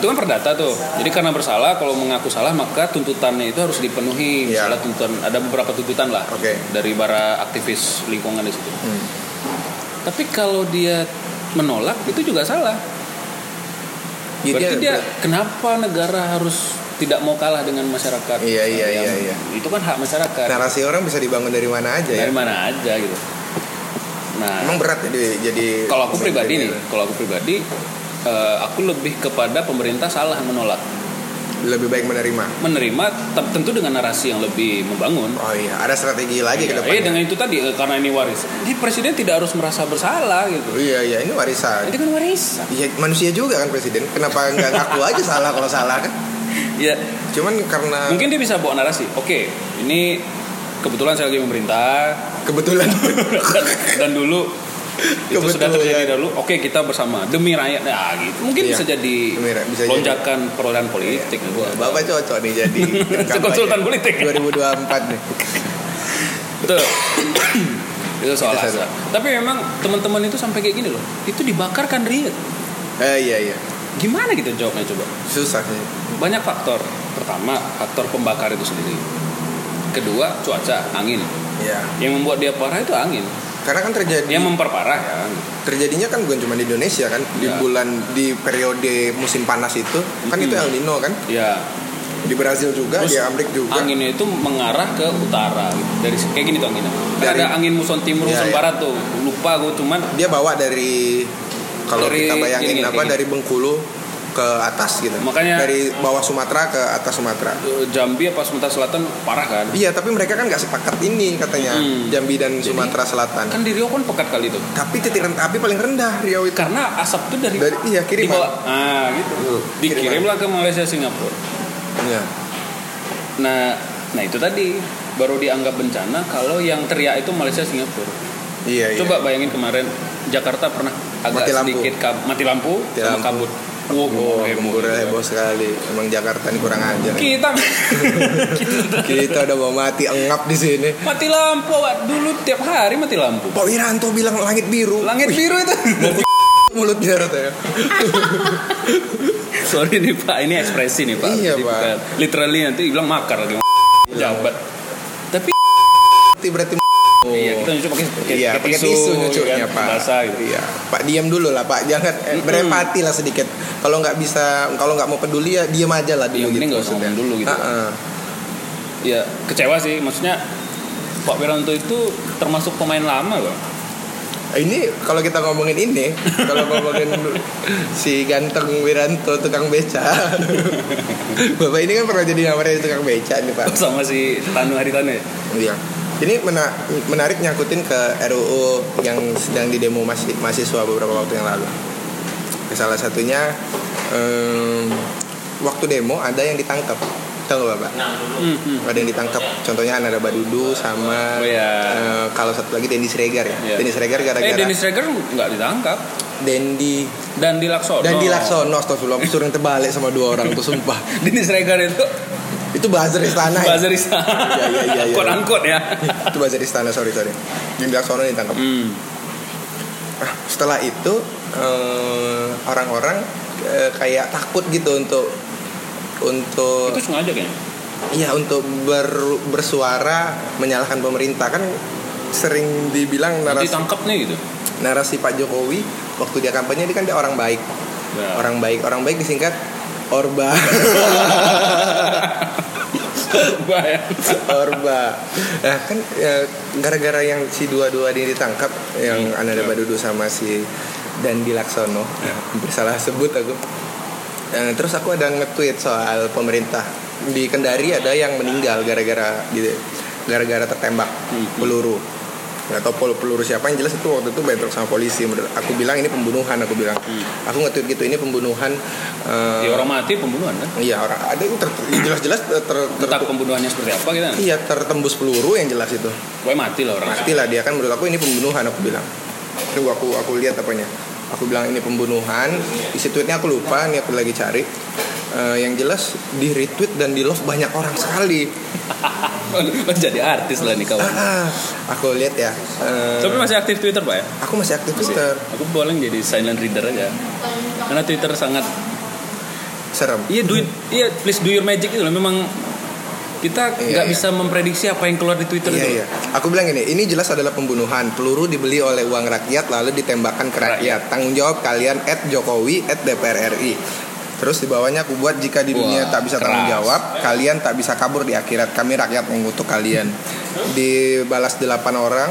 Speaker 2: Itu kan perdata tuh. Jadi karena bersalah kalau mengaku salah maka tuntutannya itu harus dipenuhi.
Speaker 1: Iya.
Speaker 2: Misalnya tuntutan ada beberapa tuntutan lah
Speaker 1: Oke. Hmm.
Speaker 2: dari para aktivis lingkungan di situ. Tapi kalau dia menolak itu juga salah.
Speaker 1: Jadi
Speaker 2: Berarti
Speaker 1: ada-
Speaker 2: dia kenapa negara harus tidak mau kalah dengan masyarakat?
Speaker 1: Iya, iya,
Speaker 2: Yang-
Speaker 1: iya, iya.
Speaker 2: Itu kan hak masyarakat.
Speaker 1: narasi orang bisa dibangun dari mana aja ya.
Speaker 2: dari mana aja gitu Nah,
Speaker 1: Emang berat jadi jadi
Speaker 2: kalau aku pribadi nih,
Speaker 1: manajer.
Speaker 2: kalau aku pribadi, eh, aku lebih kepada pemerintah salah menolak,
Speaker 1: lebih baik menerima.
Speaker 2: menerima te- tentu dengan narasi yang lebih membangun.
Speaker 1: Oh iya, ada strategi lagi ke
Speaker 2: Ya,
Speaker 1: depannya.
Speaker 2: eh, dengan itu tadi eh, karena ini waris, jadi presiden tidak harus merasa bersalah gitu.
Speaker 1: Iya iya, ini warisan.
Speaker 2: Itu kan waris.
Speaker 1: Iya manusia juga kan presiden. Kenapa nggak ngaku aja salah kalau salah kan?
Speaker 2: Ya,
Speaker 1: Cuman karena
Speaker 2: mungkin dia bisa bawa narasi. Oke, ini kebetulan saya lagi memerintah,
Speaker 1: kebetulan.
Speaker 2: dan dulu itu
Speaker 1: Kebetulan.
Speaker 2: sudah terjadi dahulu. Oke kita bersama demi rakyat. Nah, gitu. Mungkin
Speaker 1: Iya,
Speaker 2: bisa jadi
Speaker 1: demi rakyat, bisa jadi. Iya.
Speaker 2: lonjakan perolehan politik. Nah, Gua-
Speaker 1: Bapak cocok nih jadi kampanye.
Speaker 2: Konsultan politik.
Speaker 1: 2024 nih.
Speaker 2: Betul. itu soal
Speaker 1: Itu satu.
Speaker 2: asal. Tapi memang teman-teman itu sampai kayak gini loh. Itu dibakarkan real.
Speaker 1: Eh iya iya,
Speaker 2: Gimana kita jawabnya coba?
Speaker 1: susah sih.
Speaker 2: Banyak faktor. Pertama, faktor pembakar itu sendiri. Kedua, cuaca, angin.
Speaker 1: Ya,
Speaker 2: Yang membuat dia parah itu angin.
Speaker 1: karena kan terjadi
Speaker 2: Yang memperparah ya.
Speaker 1: terjadinya kan bukan cuma di Indonesia kan di
Speaker 2: Ya.
Speaker 1: bulan di periode musim panas itu kan itu
Speaker 2: Mhm.
Speaker 1: El Nino kan
Speaker 2: Ya,
Speaker 1: di Brazil juga di
Speaker 2: Terus
Speaker 1: Amerika juga
Speaker 2: anginnya itu mengarah ke utara gitu. dari kayak gini tuh anginnya Kan
Speaker 1: Dari-
Speaker 2: ada angin muson timur
Speaker 1: Iya,
Speaker 2: muson
Speaker 1: iya.
Speaker 2: barat tuh lupa gue cuman
Speaker 1: dia bawa dari kalau
Speaker 2: Dari-
Speaker 1: kita bayangin
Speaker 2: gini, gini,
Speaker 1: apa
Speaker 2: gini.
Speaker 1: dari Bengkulu ke atas gitu
Speaker 2: Makanya-
Speaker 1: dari bawah Sumatera ke atas Sumatera
Speaker 2: eh, Jambi apa Sumatera Selatan parah kan
Speaker 1: iya tapi mereka kan nggak sepakat ini katanya
Speaker 2: Hmm.
Speaker 1: Jambi dan
Speaker 2: Jadi-
Speaker 1: Sumatera Selatan
Speaker 2: kan di Rio kan pekat kali itu
Speaker 1: tapi titik rent- api paling rendah Riau itu
Speaker 2: karena asap tuh dari,
Speaker 1: Dari- iya, kiriman.
Speaker 2: dibawa ah gitu
Speaker 1: Tuh, kiriman.
Speaker 2: dikirimlah ke Malaysia Singapura
Speaker 1: Iya.
Speaker 2: nah nah itu tadi baru dianggap bencana kalau yang teriak itu Malaysia Singapura
Speaker 1: iya iya
Speaker 2: coba bayangin kemarin Jakarta pernah agak
Speaker 1: Mati lampu.
Speaker 2: sedikit kab- mati lampu
Speaker 1: Mati
Speaker 2: sama
Speaker 1: lampu.
Speaker 2: kabut Wow,
Speaker 1: Oh, heboh,
Speaker 2: heboh, gitu.
Speaker 1: heboh sekali. Emang Jakarta ini kurang ajar.
Speaker 2: kita kita
Speaker 1: Kita udah mau mati engap di sini.
Speaker 2: Mati lampu, Wak. dulu tiap hari mati lampu.
Speaker 1: Pak Wiranto bilang langit biru.
Speaker 2: Langit
Speaker 1: Wih,
Speaker 2: biru itu.
Speaker 1: mulutnya katanya.
Speaker 2: Sorry nih Pak, ini ekspresi nih Pak.
Speaker 1: Iya, Pak. Iya.
Speaker 2: bukan- Literally nanti bilang makar lagi. Jabat. Tapi
Speaker 1: Berarti berarti
Speaker 2: iya, kita nyuci pakai pakai-
Speaker 1: Iya, pakai tisu nyucuknya,
Speaker 2: kan,
Speaker 1: Pak.
Speaker 2: Basah gitu.
Speaker 1: Iya. Pak diam dulu lah, Pak. Jangan eh,
Speaker 2: Mm-mm.
Speaker 1: berempati lah sedikit. Kalau nggak bisa, kalau nggak mau peduli ya diam aja lah dulu
Speaker 2: Yang
Speaker 1: gitu.
Speaker 2: penting nggak usah
Speaker 1: maksudnya.
Speaker 2: ngomong dulu gitu.
Speaker 1: Ha-ha.
Speaker 2: Iya, kecewa sih. Maksudnya Pak Wiranto itu termasuk pemain lama loh.
Speaker 1: Ini kalau kita ngomongin ini, kalau ngomongin si ganteng Wiranto tukang beca. Bapak ini kan pernah jadi namanya tukang beca nih, Pak.
Speaker 2: Kan Sama si Tanu Haritanu ya.
Speaker 1: Iya. Ini mena- menarik nyangkutin ke RUU yang sedang didemo masi- mahasiswa beberapa waktu yang lalu. Salah satunya em, waktu demo ada yang ditangkap. Tahu nggak, Bapak?
Speaker 2: Hmm, hmm.
Speaker 1: Ada yang ditangkap. Contohnya Ananda Badudu sama
Speaker 2: Oh, iya.
Speaker 1: eh, kalau satu lagi Dendi Siregar ya.
Speaker 2: Iya.
Speaker 1: Dendi Siregar gara-gara
Speaker 2: Eh, Dennis Reger nggak ditangkap.
Speaker 1: Dendi
Speaker 2: Dan Dilaksono.
Speaker 1: dan di Laksono astagfirullah aku suruh terbalik sama dua orang tuh sumpah.
Speaker 2: Dennis Reger itu
Speaker 1: Itu buzzer istana. ya?
Speaker 2: buzzer istana.
Speaker 1: Iya, iya, iya, iya.
Speaker 2: Quote unquote ya.
Speaker 1: Itu buzzer istana, sorry sorry. Dendi Laksono ditangkap.
Speaker 2: Hmm.
Speaker 1: Nah, setelah itu eh, orang-orang eh, kayak takut gitu untuk untuk
Speaker 2: Hmm. Itu sengaja kayaknya.
Speaker 1: iya untuk ber- bersuara menyalahkan pemerintah kan sering dibilang
Speaker 2: Nanti
Speaker 1: narasi,
Speaker 2: tangkap nih gitu.
Speaker 1: narasi Pak Jokowi waktu dia kampanye dia kan dia orang baik
Speaker 2: Ya.
Speaker 1: orang baik orang baik disingkat Orba
Speaker 2: Bahaya.
Speaker 1: Orba nah kan eh, gara-gara yang si dua-dua ini ditangkap yang
Speaker 2: Hmm,
Speaker 1: Ananda
Speaker 2: ya.
Speaker 1: Badudu sama si Dandi Laksono hampir salah sebut aku Eh, terus aku ada nge-tweet soal pemerintah di Kendari ada yang meninggal gara-gara gitu gara-gara tertembak
Speaker 2: Hmm.
Speaker 1: peluru nggak tahu pel- peluru siapa yang jelas itu waktu itu bentrok sama polisi menurut aku bilang ini pembunuhan aku bilang aku nge-tweet gitu ini pembunuhan eh,
Speaker 2: Ya, Hmm. orang mati pembunuhan kan.
Speaker 1: iya orang ada yang ter- jelas-jelas ter, ter- ter-
Speaker 2: Entah pembunuhannya seperti apa kita.
Speaker 1: Iya tertembus peluru yang jelas itu.
Speaker 2: Pokoknya mati lah orang.
Speaker 1: Mati lah dia kan menurut aku ini pembunuhan aku bilang. Terus aku aku lihat apanya. Aku bilang ini pembunuhan. Isi tweetnya aku lupa. Ini aku lagi cari. Eh, yang jelas di retweet dan di love banyak orang sekali.
Speaker 2: Lo jadi artis lah nih kawan.
Speaker 1: Ah, aku lihat ya. Eh,
Speaker 2: Tapi masih aktif Twitter pak ya?
Speaker 1: aku masih aktif
Speaker 2: Masih.
Speaker 1: Twitter.
Speaker 2: Aku boleh jadi silent reader aja. Karena Twitter sangat.
Speaker 1: Serem.
Speaker 2: Iya do it- Iya please do your magic itu loh. Memang kita
Speaker 1: Iya,
Speaker 2: nggak
Speaker 1: iya.
Speaker 2: bisa memprediksi apa yang keluar di Twitter
Speaker 1: Iya
Speaker 2: itu.
Speaker 1: iya. Aku bilang ini, ini jelas adalah pembunuhan. Peluru dibeli oleh uang rakyat lalu ditembakkan ke rakyat.
Speaker 2: Rakyat.
Speaker 1: Tanggung jawab kalian at Jokowi at DPR RI. Terus di bawahnya aku buat jika di dunia
Speaker 2: Wah,
Speaker 1: tak bisa tanggung
Speaker 2: keras.
Speaker 1: jawab, kalian tak bisa kabur di akhirat. Kami rakyat mengutuk kalian. Dibalas delapan orang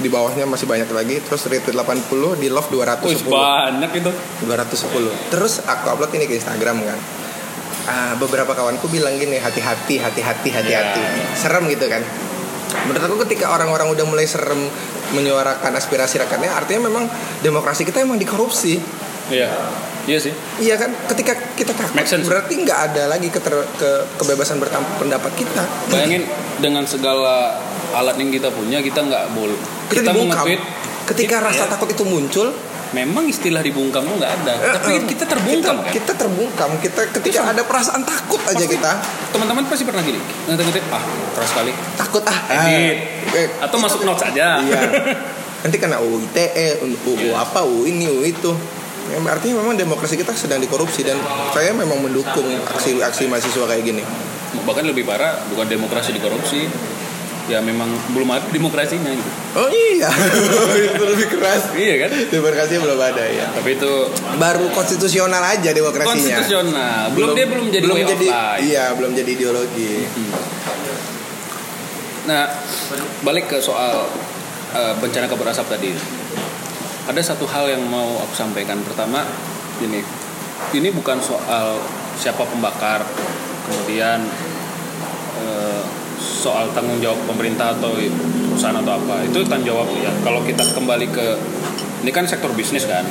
Speaker 1: di bawahnya masih banyak lagi terus rated 80 di love
Speaker 2: Wih,
Speaker 1: 210
Speaker 2: banyak itu.
Speaker 1: 210 terus aku upload ini ke Instagram kan Ah, beberapa kawanku bilang gini hati-hati hati-hati hati-hati
Speaker 2: Ya.
Speaker 1: serem gitu kan menurut aku ketika orang-orang udah mulai serem menyuarakan aspirasi rakyatnya artinya memang demokrasi kita emang dikorupsi
Speaker 2: Iya. Iya sih.
Speaker 1: iya kan ketika kita takut
Speaker 2: Make sense.
Speaker 1: berarti nggak ada lagi keter- ke- kebebasan berpendapat kita
Speaker 2: Bayangin dengan segala alat yang kita punya kita nggak boleh.
Speaker 1: kita,
Speaker 2: Kita, mau
Speaker 1: dibungkam
Speaker 2: nge-tweet
Speaker 1: ketika
Speaker 2: Kita-
Speaker 1: rasa
Speaker 2: ya.
Speaker 1: takut itu muncul
Speaker 2: memang istilah dibungkam tuh nggak ada.
Speaker 1: eh,
Speaker 2: Tapi
Speaker 1: eh,
Speaker 2: kita terbungkam
Speaker 1: kita,
Speaker 2: kan.
Speaker 1: kita terbungkam kita ketika ada perasaan takut aja
Speaker 2: Pasti.
Speaker 1: kita
Speaker 2: Teman-teman pasti pernah gini. Ngetik-ngetik ah keras sekali.
Speaker 1: takut ah
Speaker 2: Edit.
Speaker 1: Eh,
Speaker 2: Atau masuk notes aja.
Speaker 1: iya nanti kena UU ITE UU
Speaker 2: Iya.
Speaker 1: E, apa UU ini UU itu Ya, artinya memang demokrasi kita sedang dikorupsi dan saya memang mendukung aksi-aksi mahasiswa kayak gini
Speaker 2: Bahkan lebih parah bukan demokrasi dikorupsi. Ya memang belum ada demokrasinya gitu.
Speaker 1: oh iya itu lebih keras
Speaker 2: Iya kan?
Speaker 1: demokrasi belum ada ya
Speaker 2: Tapi itu
Speaker 1: baru konstitusional aja demokrasinya
Speaker 2: konstitusional. Belum, dia belum jadi way of life. Mhm.
Speaker 1: iya belum jadi ideologi
Speaker 2: Nah, balik ke soal eh, bencana kabut asap tadi. Ada satu hal yang mau aku sampaikan pertama ini. Ini bukan soal siapa pembakar, kemudian eh, soal tanggung jawab pemerintah atau perusahaan atau apa. Itu tanggung jawab ya. Kalau kita kembali ke ini kan sektor bisnis kan.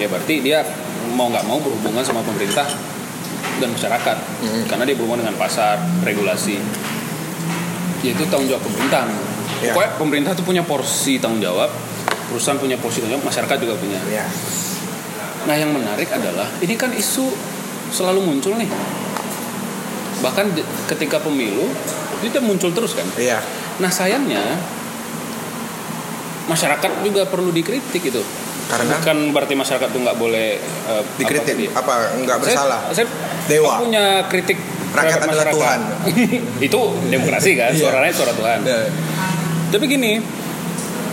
Speaker 2: Ya berarti dia mau nggak mau berhubungan sama pemerintah dan masyarakat
Speaker 1: Mm.
Speaker 2: karena dia berhubungan dengan pasar, regulasi yaitu tanggung jawab pemerintah.
Speaker 1: Ya.
Speaker 2: Pokoknya pemerintah tuh punya porsi tanggung jawab, perusahaan punya porsi tanggung jawab, masyarakat juga punya.
Speaker 1: ya
Speaker 2: Nah yang menarik adalah ini kan isu selalu muncul nih. Bahkan di- ketika pemilu itu muncul terus kan.
Speaker 1: iya
Speaker 2: Nah sayangnya masyarakat juga perlu dikritik gitu.
Speaker 1: Karena?
Speaker 2: bukan berarti masyarakat tuh nggak boleh eh, apa tadi?
Speaker 1: dikritik apa nggak
Speaker 2: Saya-
Speaker 1: bersalah
Speaker 2: Saya,
Speaker 1: Dewa.
Speaker 2: saya punya kritik
Speaker 1: Rakyat
Speaker 2: terhadap
Speaker 1: adalah
Speaker 2: masyarakat. itu demokrasi kan,
Speaker 1: Iya.
Speaker 2: suaranya suara Tuhan.
Speaker 1: Ya.
Speaker 2: Tapi gini,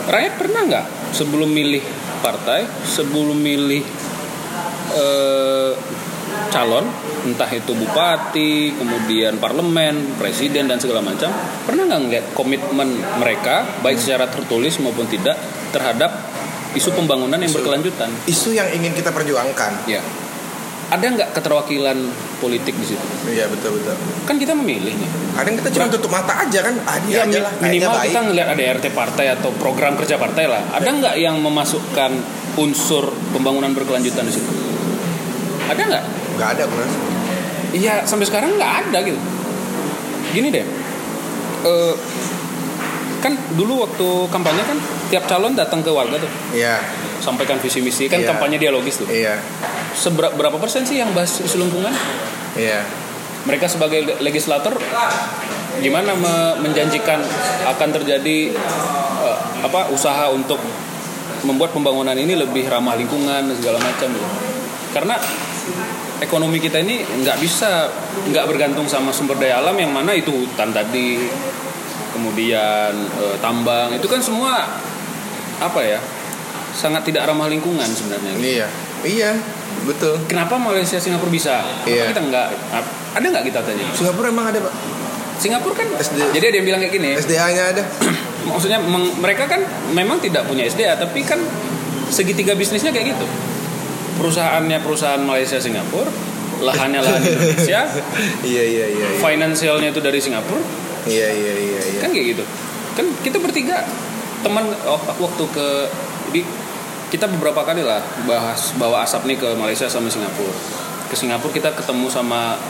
Speaker 2: rakyat pernah nggak sebelum milih partai, sebelum milih eh, calon, entah itu bupati, kemudian parlemen, presiden dan segala macam, pernah nggak ngeliat komitmen mereka, baik secara tertulis maupun tidak, terhadap isu pembangunan yang
Speaker 1: Isu.
Speaker 2: berkelanjutan?
Speaker 1: isu yang ingin kita perjuangkan
Speaker 2: Ya. Ada nggak keterwakilan politik di situ?
Speaker 1: iya betul betul
Speaker 2: Kan kita memilih nih.
Speaker 1: kadang kita cuma tutup mata aja kan ah dia aja
Speaker 2: Ya, mi-
Speaker 1: lah kayaknya
Speaker 2: minimal
Speaker 1: baik Iya.
Speaker 2: kita ngelihat ada RT partai atau program kerja partai lah. Ada nggak yang memasukkan unsur pembangunan berkelanjutan di situ? Ada nggak?
Speaker 1: nggak ada benar
Speaker 2: Iya, sampai sekarang nggak ada gitu. Gini deh, eh, kan dulu waktu kampanye kan tiap calon datang ke warga tuh,
Speaker 1: iya
Speaker 2: sampaikan visi misi kan
Speaker 1: Iya.
Speaker 2: kampanye dialogis tuh.
Speaker 1: iya
Speaker 2: Seberapa berapa persen sih yang bahas isu lingkungan?
Speaker 1: iya
Speaker 2: mereka sebagai le- legislator gimana me- menjanjikan akan terjadi eh, apa usaha untuk membuat pembangunan ini lebih ramah lingkungan dan segala macam gitu. Karena ekonomi kita ini nggak bisa nggak bergantung sama sumber daya alam yang mana itu hutan tadi, kemudian eh, tambang itu kan semua apa ya sangat tidak ramah lingkungan sebenarnya
Speaker 1: iya iya betul
Speaker 2: kenapa Malaysia Singapura bisa
Speaker 1: Iya.
Speaker 2: Kenapa kita nggak ada nggak kita tanya
Speaker 1: Singapura emang ada Pak?
Speaker 2: Singapura kan
Speaker 1: SD.
Speaker 2: jadi ada yang bilang kayak gini
Speaker 1: SDA-nya ada
Speaker 2: maksudnya meng- mereka kan memang tidak punya SDA tapi kan segitiga bisnisnya kayak gitu perusahaannya perusahaan Malaysia Singapura lahannya lahan Indonesia
Speaker 1: iya iya iya iya
Speaker 2: finansialnya itu dari Singapura
Speaker 1: iya iya iya iya
Speaker 2: kan kayak gitu kan kita bertiga teman oh, waktu ke jadi kita beberapa kali lah bahas bawa asap nih ke Malaysia sama Singapura ke Singapura kita ketemu sama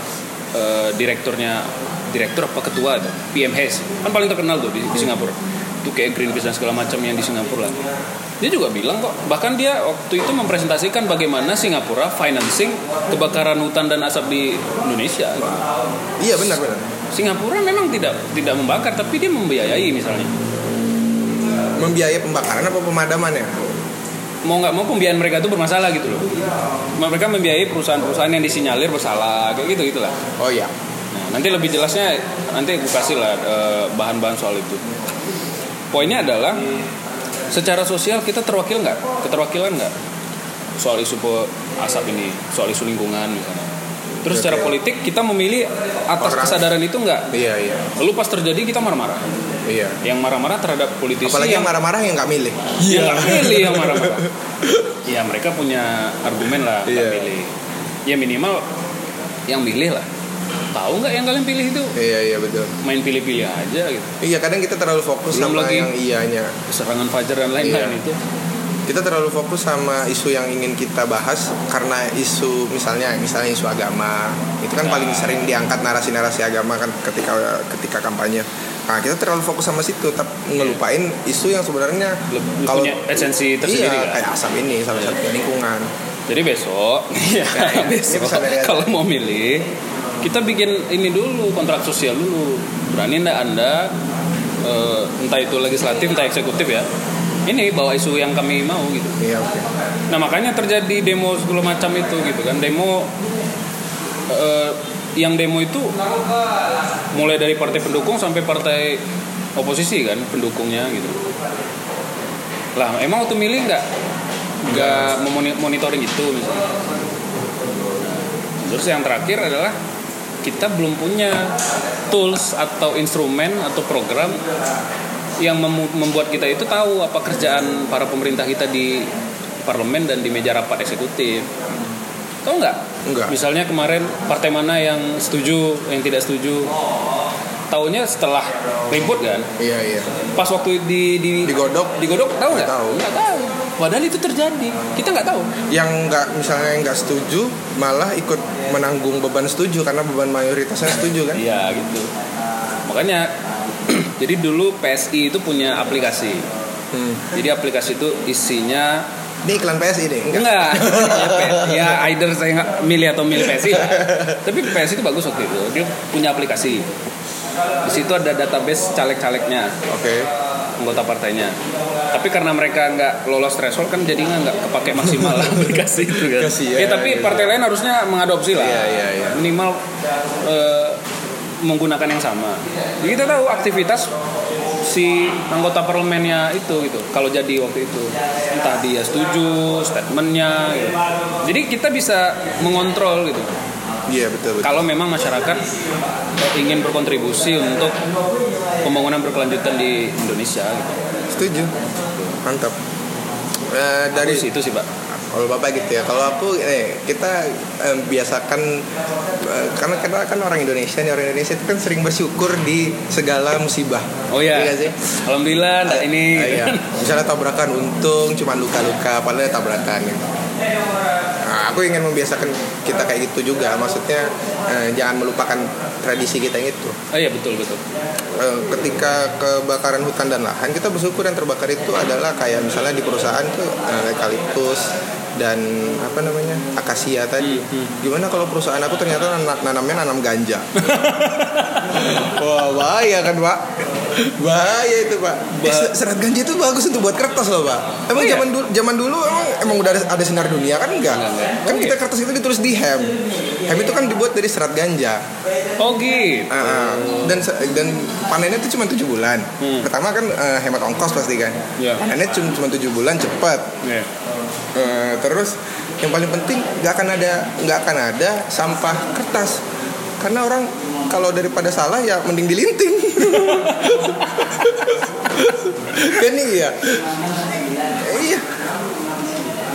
Speaker 2: eh, direkturnya direktur apa ketua itu PM Hayes kan paling terkenal tuh di, di Singapura itu kayak Greenpeace dan segala macam yang di Singapura lah dia juga bilang kok bahkan dia waktu itu mempresentasikan bagaimana Singapura financing kebakaran hutan dan asap di Indonesia
Speaker 1: iya benar benar
Speaker 2: Singapura memang tidak tidak membakar tapi dia membiayai misalnya
Speaker 1: membiayai pembakaran apa pemadaman ya
Speaker 2: mau nggak mau pembiayaan mereka itu bermasalah gitu loh mereka membiayai perusahaan-perusahaan yang disinyalir bersalah kayak gitu gitulah
Speaker 1: oh iya
Speaker 2: nah, nanti lebih jelasnya nanti aku kasih lah eh, bahan-bahan soal itu poinnya adalah secara sosial kita terwakil nggak keterwakilan nggak soal isu pe- asap ini soal isu lingkungan misalnya Terus
Speaker 1: Oke,
Speaker 2: secara
Speaker 1: oke.
Speaker 2: politik kita memilih atas
Speaker 1: Orang.
Speaker 2: kesadaran itu enggak.
Speaker 1: Iya iya
Speaker 2: Lalu pas terjadi kita marah-marah.
Speaker 1: iya.
Speaker 2: Yang marah-marah terhadap politisi
Speaker 1: Apalagi yang
Speaker 2: yang
Speaker 1: marah-marah yang nggak milih.
Speaker 2: Iya. Yang milih yang marah-marah. ya mereka punya argumen lah nggak
Speaker 1: Iya.
Speaker 2: milih. Ya minimal yang milih lah. Tahu nggak yang kalian pilih itu?
Speaker 1: Iya iya betul.
Speaker 2: Main pilih-pilih aja gitu.
Speaker 1: Iya kadang kita terlalu fokus
Speaker 2: Belum
Speaker 1: sama
Speaker 2: lagi.
Speaker 1: yang iyanya.
Speaker 2: Serangan Fajar dan lain-lain
Speaker 1: Iya.
Speaker 2: itu.
Speaker 1: Kita terlalu fokus sama isu yang ingin kita bahas karena isu misalnya misalnya isu agama itu kan
Speaker 2: Nah.
Speaker 1: paling sering diangkat narasi-narasi agama kan ketika ketika kampanye. Nah kita terlalu fokus sama situ tapi ngelupain isu yang sebenarnya
Speaker 2: Lebih punya esensi tersendiri
Speaker 1: iya,
Speaker 2: kan?
Speaker 1: kayak asam ini salah
Speaker 2: Iya.
Speaker 1: satunya lingkungan.
Speaker 2: Jadi besok, ya,
Speaker 1: Kayak
Speaker 2: besok
Speaker 1: Iya, bisa dari atas.
Speaker 2: kalau mau milih, kita bikin ini dulu kontrak sosial dulu. Berani ndak anda, eh, entah itu legislatif, entah eksekutif ya. Ini bawa isu yang kami mau gitu.
Speaker 1: Iya oke.
Speaker 2: Nah makanya terjadi demo segala macam itu gitu kan. Demo eh, yang demo itu mulai dari partai pendukung sampai partai oposisi kan pendukungnya gitu. Lah emang waktu milih nggak nggak memoni- monitoring itu misalnya. Nah, Terus yang terakhir adalah kita belum punya tools atau instrumen atau program yang memu- membuat kita itu tahu apa kerjaan para pemerintah kita di parlemen dan di meja rapat eksekutif. Tahu nggak?
Speaker 1: Nggak.
Speaker 2: Misalnya kemarin partai mana yang setuju, yang tidak setuju. Taunya setelah ribut kan.
Speaker 1: Iya iya.
Speaker 2: Pas waktu di di
Speaker 1: Digodok
Speaker 2: digodok tahu nggak?
Speaker 1: Nggak tahu.
Speaker 2: Nggak tahu. Padahal itu terjadi. Kita nggak tahu.
Speaker 1: yang nggak misalnya yang nggak setuju malah ikut menanggung beban setuju karena beban mayoritasnya setuju kan?
Speaker 2: Iya gitu. Makanya jadi dulu PSI itu punya aplikasi.
Speaker 1: Hmm.
Speaker 2: Jadi aplikasi itu isinya
Speaker 1: Ini iklan PSI deh. Enggak.
Speaker 2: Enggak. ya either saya nggak milih atau milih PSI. lah. Tapi PSI itu bagus waktu itu. Dia punya aplikasi. Di situ ada database caleg-calegnya,
Speaker 1: Oke.
Speaker 2: anggota partainya. Tapi karena mereka nggak lolos threshold kan jadinya nggak kepake maksimal lah aplikasi itu kan.
Speaker 1: Kasihan,
Speaker 2: ya tapi
Speaker 1: gitu.
Speaker 2: partai lain harusnya mengadopsi lah.
Speaker 1: Iya, iya, iya.
Speaker 2: Minimal eh, menggunakan yang sama. Jadi kita tahu aktivitas si anggota parlemennya itu gitu kalau jadi waktu itu entah dia setuju statementnya gitu. jadi kita bisa mengontrol gitu
Speaker 1: Iya betul betul.
Speaker 2: kalau memang masyarakat eh, ingin berkontribusi untuk pembangunan berkelanjutan di Indonesia gitu.
Speaker 1: Setuju. Mantap. Eh, dari
Speaker 2: dari situ sih pak
Speaker 1: kalau bapak gitu ya kalau aku eh kita eh, biasakan eh, karena kita kan orang Indonesia nih orang Indonesia itu kan sering bersyukur di segala musibah
Speaker 2: oh
Speaker 1: Iya
Speaker 2: ya
Speaker 1: nggak sih
Speaker 2: alhamdulillah ada ini
Speaker 1: Eh, iya. misalnya tabrakan untung cuman luka-luka padahal tabrakan gitu. Nah, aku ingin membiasakan kita kayak gitu juga maksudnya eh, jangan melupakan tradisi kita yang itu
Speaker 2: oh iya betul betul
Speaker 1: Eh, ketika kebakaran hutan dan lahan kita bersyukur yang terbakar itu adalah kayak misalnya di perusahaan tuh eh, eukaliptus dan apa namanya akasia tadi
Speaker 2: Hmm,
Speaker 1: gimana kalau perusahaan aku ternyata nan- nanamnya nanam ganja wah bahaya kan pak bahaya itu pak Eh, se- serat ganja itu bagus untuk buat kertas loh pak emang
Speaker 2: Oh, iya?
Speaker 1: zaman dulu zaman dulu emang emang udah ada, ada sinar dunia kan enggak
Speaker 2: Enggak, enggak.
Speaker 1: kan
Speaker 2: Oh,
Speaker 1: kita
Speaker 2: iya.
Speaker 1: kertas itu ditulis di hem hem itu kan dibuat dari serat ganja
Speaker 2: oh gitu
Speaker 1: Ah, ah. dan se- dan panennya itu cuma tujuh bulan.
Speaker 2: Hmm.
Speaker 1: Pertama kan eh, hemat ongkos pasti kan.
Speaker 2: Iya.
Speaker 1: Panennya cuma cuma tujuh bulan cepat.
Speaker 2: Iya.
Speaker 1: Eh, terus yang paling penting nggak akan ada nggak akan ada sampah kertas karena orang kalau daripada salah ya mending dilinting. Dan iya. Eh, Iya.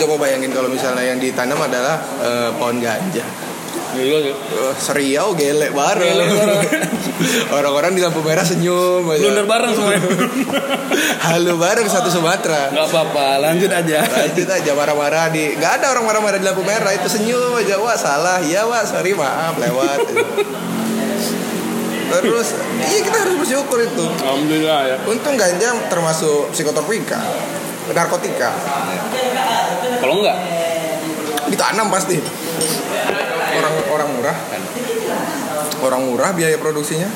Speaker 1: Coba bayangin kalau misalnya yang ditanam adalah eh, pohon ganja.
Speaker 2: Gila sih.
Speaker 1: Eh, seriau gelek bareng.
Speaker 2: Gelek bareng.
Speaker 1: Orang-orang di lampu merah senyum. aja.
Speaker 2: blunder bareng semuanya
Speaker 1: Halo bareng satu Sumatera.
Speaker 2: nggak apa-apa lanjut aja
Speaker 1: Lanjut aja marah-marah di. Gak ada orang marah-marah di lampu merah itu senyum aja. Wah salah, ya wah sorry maaf lewat. Terus iya kita harus bersyukur itu.
Speaker 2: alhamdulillah ya
Speaker 1: Untung ganja termasuk psikotropika, narkotika
Speaker 2: kalau enggak
Speaker 1: ditanam pasti. Orang orang murah kan? orang murah biaya produksinya.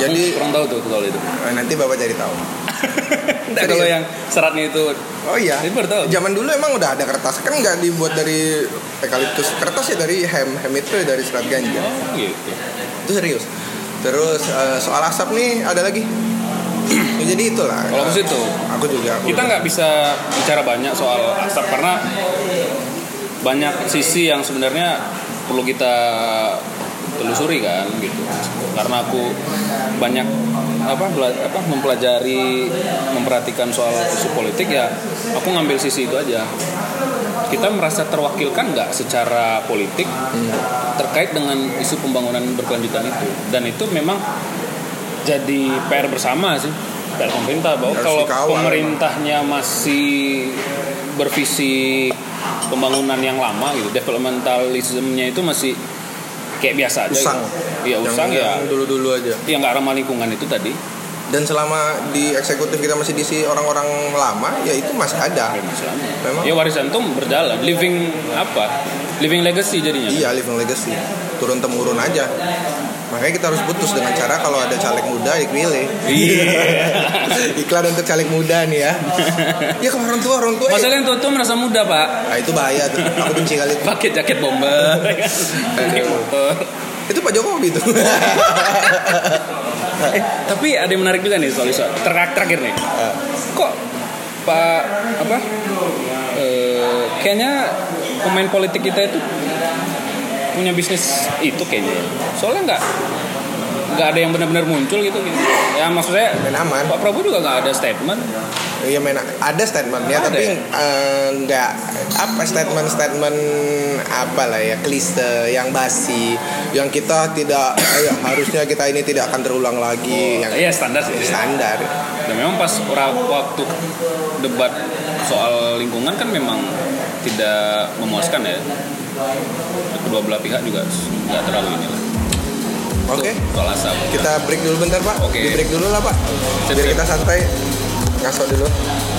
Speaker 1: Jadi
Speaker 2: kurang tahu tuh kalau itu
Speaker 1: Eh, nanti bapak cari tahu.
Speaker 2: Nggak, kalau yang seratnya itu
Speaker 1: Oh iya.
Speaker 2: Ini baru tahu.
Speaker 1: Zaman dulu emang udah ada kertas kan nggak dibuat dari eukaliptus. Kertas ya dari hem hem itu dari serat ganja.
Speaker 2: oh gitu
Speaker 1: Itu serius. Terus eh, soal asap nih ada lagi. Ya, jadi itulah.
Speaker 2: kalau aku sih Iya, tuh
Speaker 1: Aku juga. aku-
Speaker 2: kita nggak bisa bicara banyak soal asap karena banyak sisi yang sebenarnya perlu kita telusuri kan gitu karena aku banyak apa, bela- apa mempelajari memperhatikan soal isu politik ya aku ngambil sisi itu aja kita merasa terwakilkan nggak secara politik terkait dengan isu pembangunan berkelanjutan itu dan itu memang jadi PR bersama sih PR pemerintah bahwa
Speaker 1: Harus
Speaker 2: kalau
Speaker 1: dikawal.
Speaker 2: pemerintahnya masih bervisi pembangunan yang lama gitu developmentalismnya itu masih kayak biasa aja
Speaker 1: Usang.
Speaker 2: gitu. ya usang
Speaker 1: yang,
Speaker 2: ya
Speaker 1: yang dulu-dulu aja.
Speaker 2: yang nggak ramah lingkungan itu tadi
Speaker 1: Dan selama di eksekutif kita masih diisi orang-orang lama, ya itu masih ada.
Speaker 2: ya masalahnya.
Speaker 1: Memang.
Speaker 2: ya warisan tuh berjalan living apa living legacy jadinya
Speaker 1: Iya, living legacy. Turun temurun aja. Makanya kita harus putus dengan cara kalau ada caleg muda ya dipilih.
Speaker 2: Iya.
Speaker 1: Iklan untuk caleg muda nih ya.
Speaker 2: Oh.
Speaker 1: Ya kalau orang tua orang tua. ya-
Speaker 2: masalahnya tuh tuh kan merasa muda pak
Speaker 1: Nah, itu bahaya tuh. Aku benci kali itu.
Speaker 2: pakai jaket Eh, bomber naik motor
Speaker 1: Itu Pak Jokowi tuh.
Speaker 2: Eh, tapi ada yang menarik juga nih soal isu terakhir terakhir nih kok pak apa eh, kayaknya pemain politik kita itu punya bisnis itu kayaknya soalnya nggak nggak ada yang benar-benar muncul gitu ya maksud saya
Speaker 1: Main aman.
Speaker 2: pak prabowo juga nggak ada statement
Speaker 1: Iya men ada statementnya
Speaker 2: Ada
Speaker 1: tapi
Speaker 2: ya?
Speaker 1: eh, nggak apa statement statement apa lah ya klise yang basi yang kita tidak eh, ya, harusnya kita ini tidak akan terulang lagi yang
Speaker 2: ya standar sih
Speaker 1: standar
Speaker 2: dan memang pas ora- waktu debat soal lingkungan kan memang tidak memuaskan ya kedua belah pihak juga nggak terlalu ini lah
Speaker 1: oke
Speaker 2: soal asap
Speaker 1: kita break dulu bentar pak
Speaker 2: Oke.
Speaker 1: di break dulu lah pak
Speaker 2: Sip,
Speaker 1: biar
Speaker 2: sip.
Speaker 1: kita santai ngaso dulu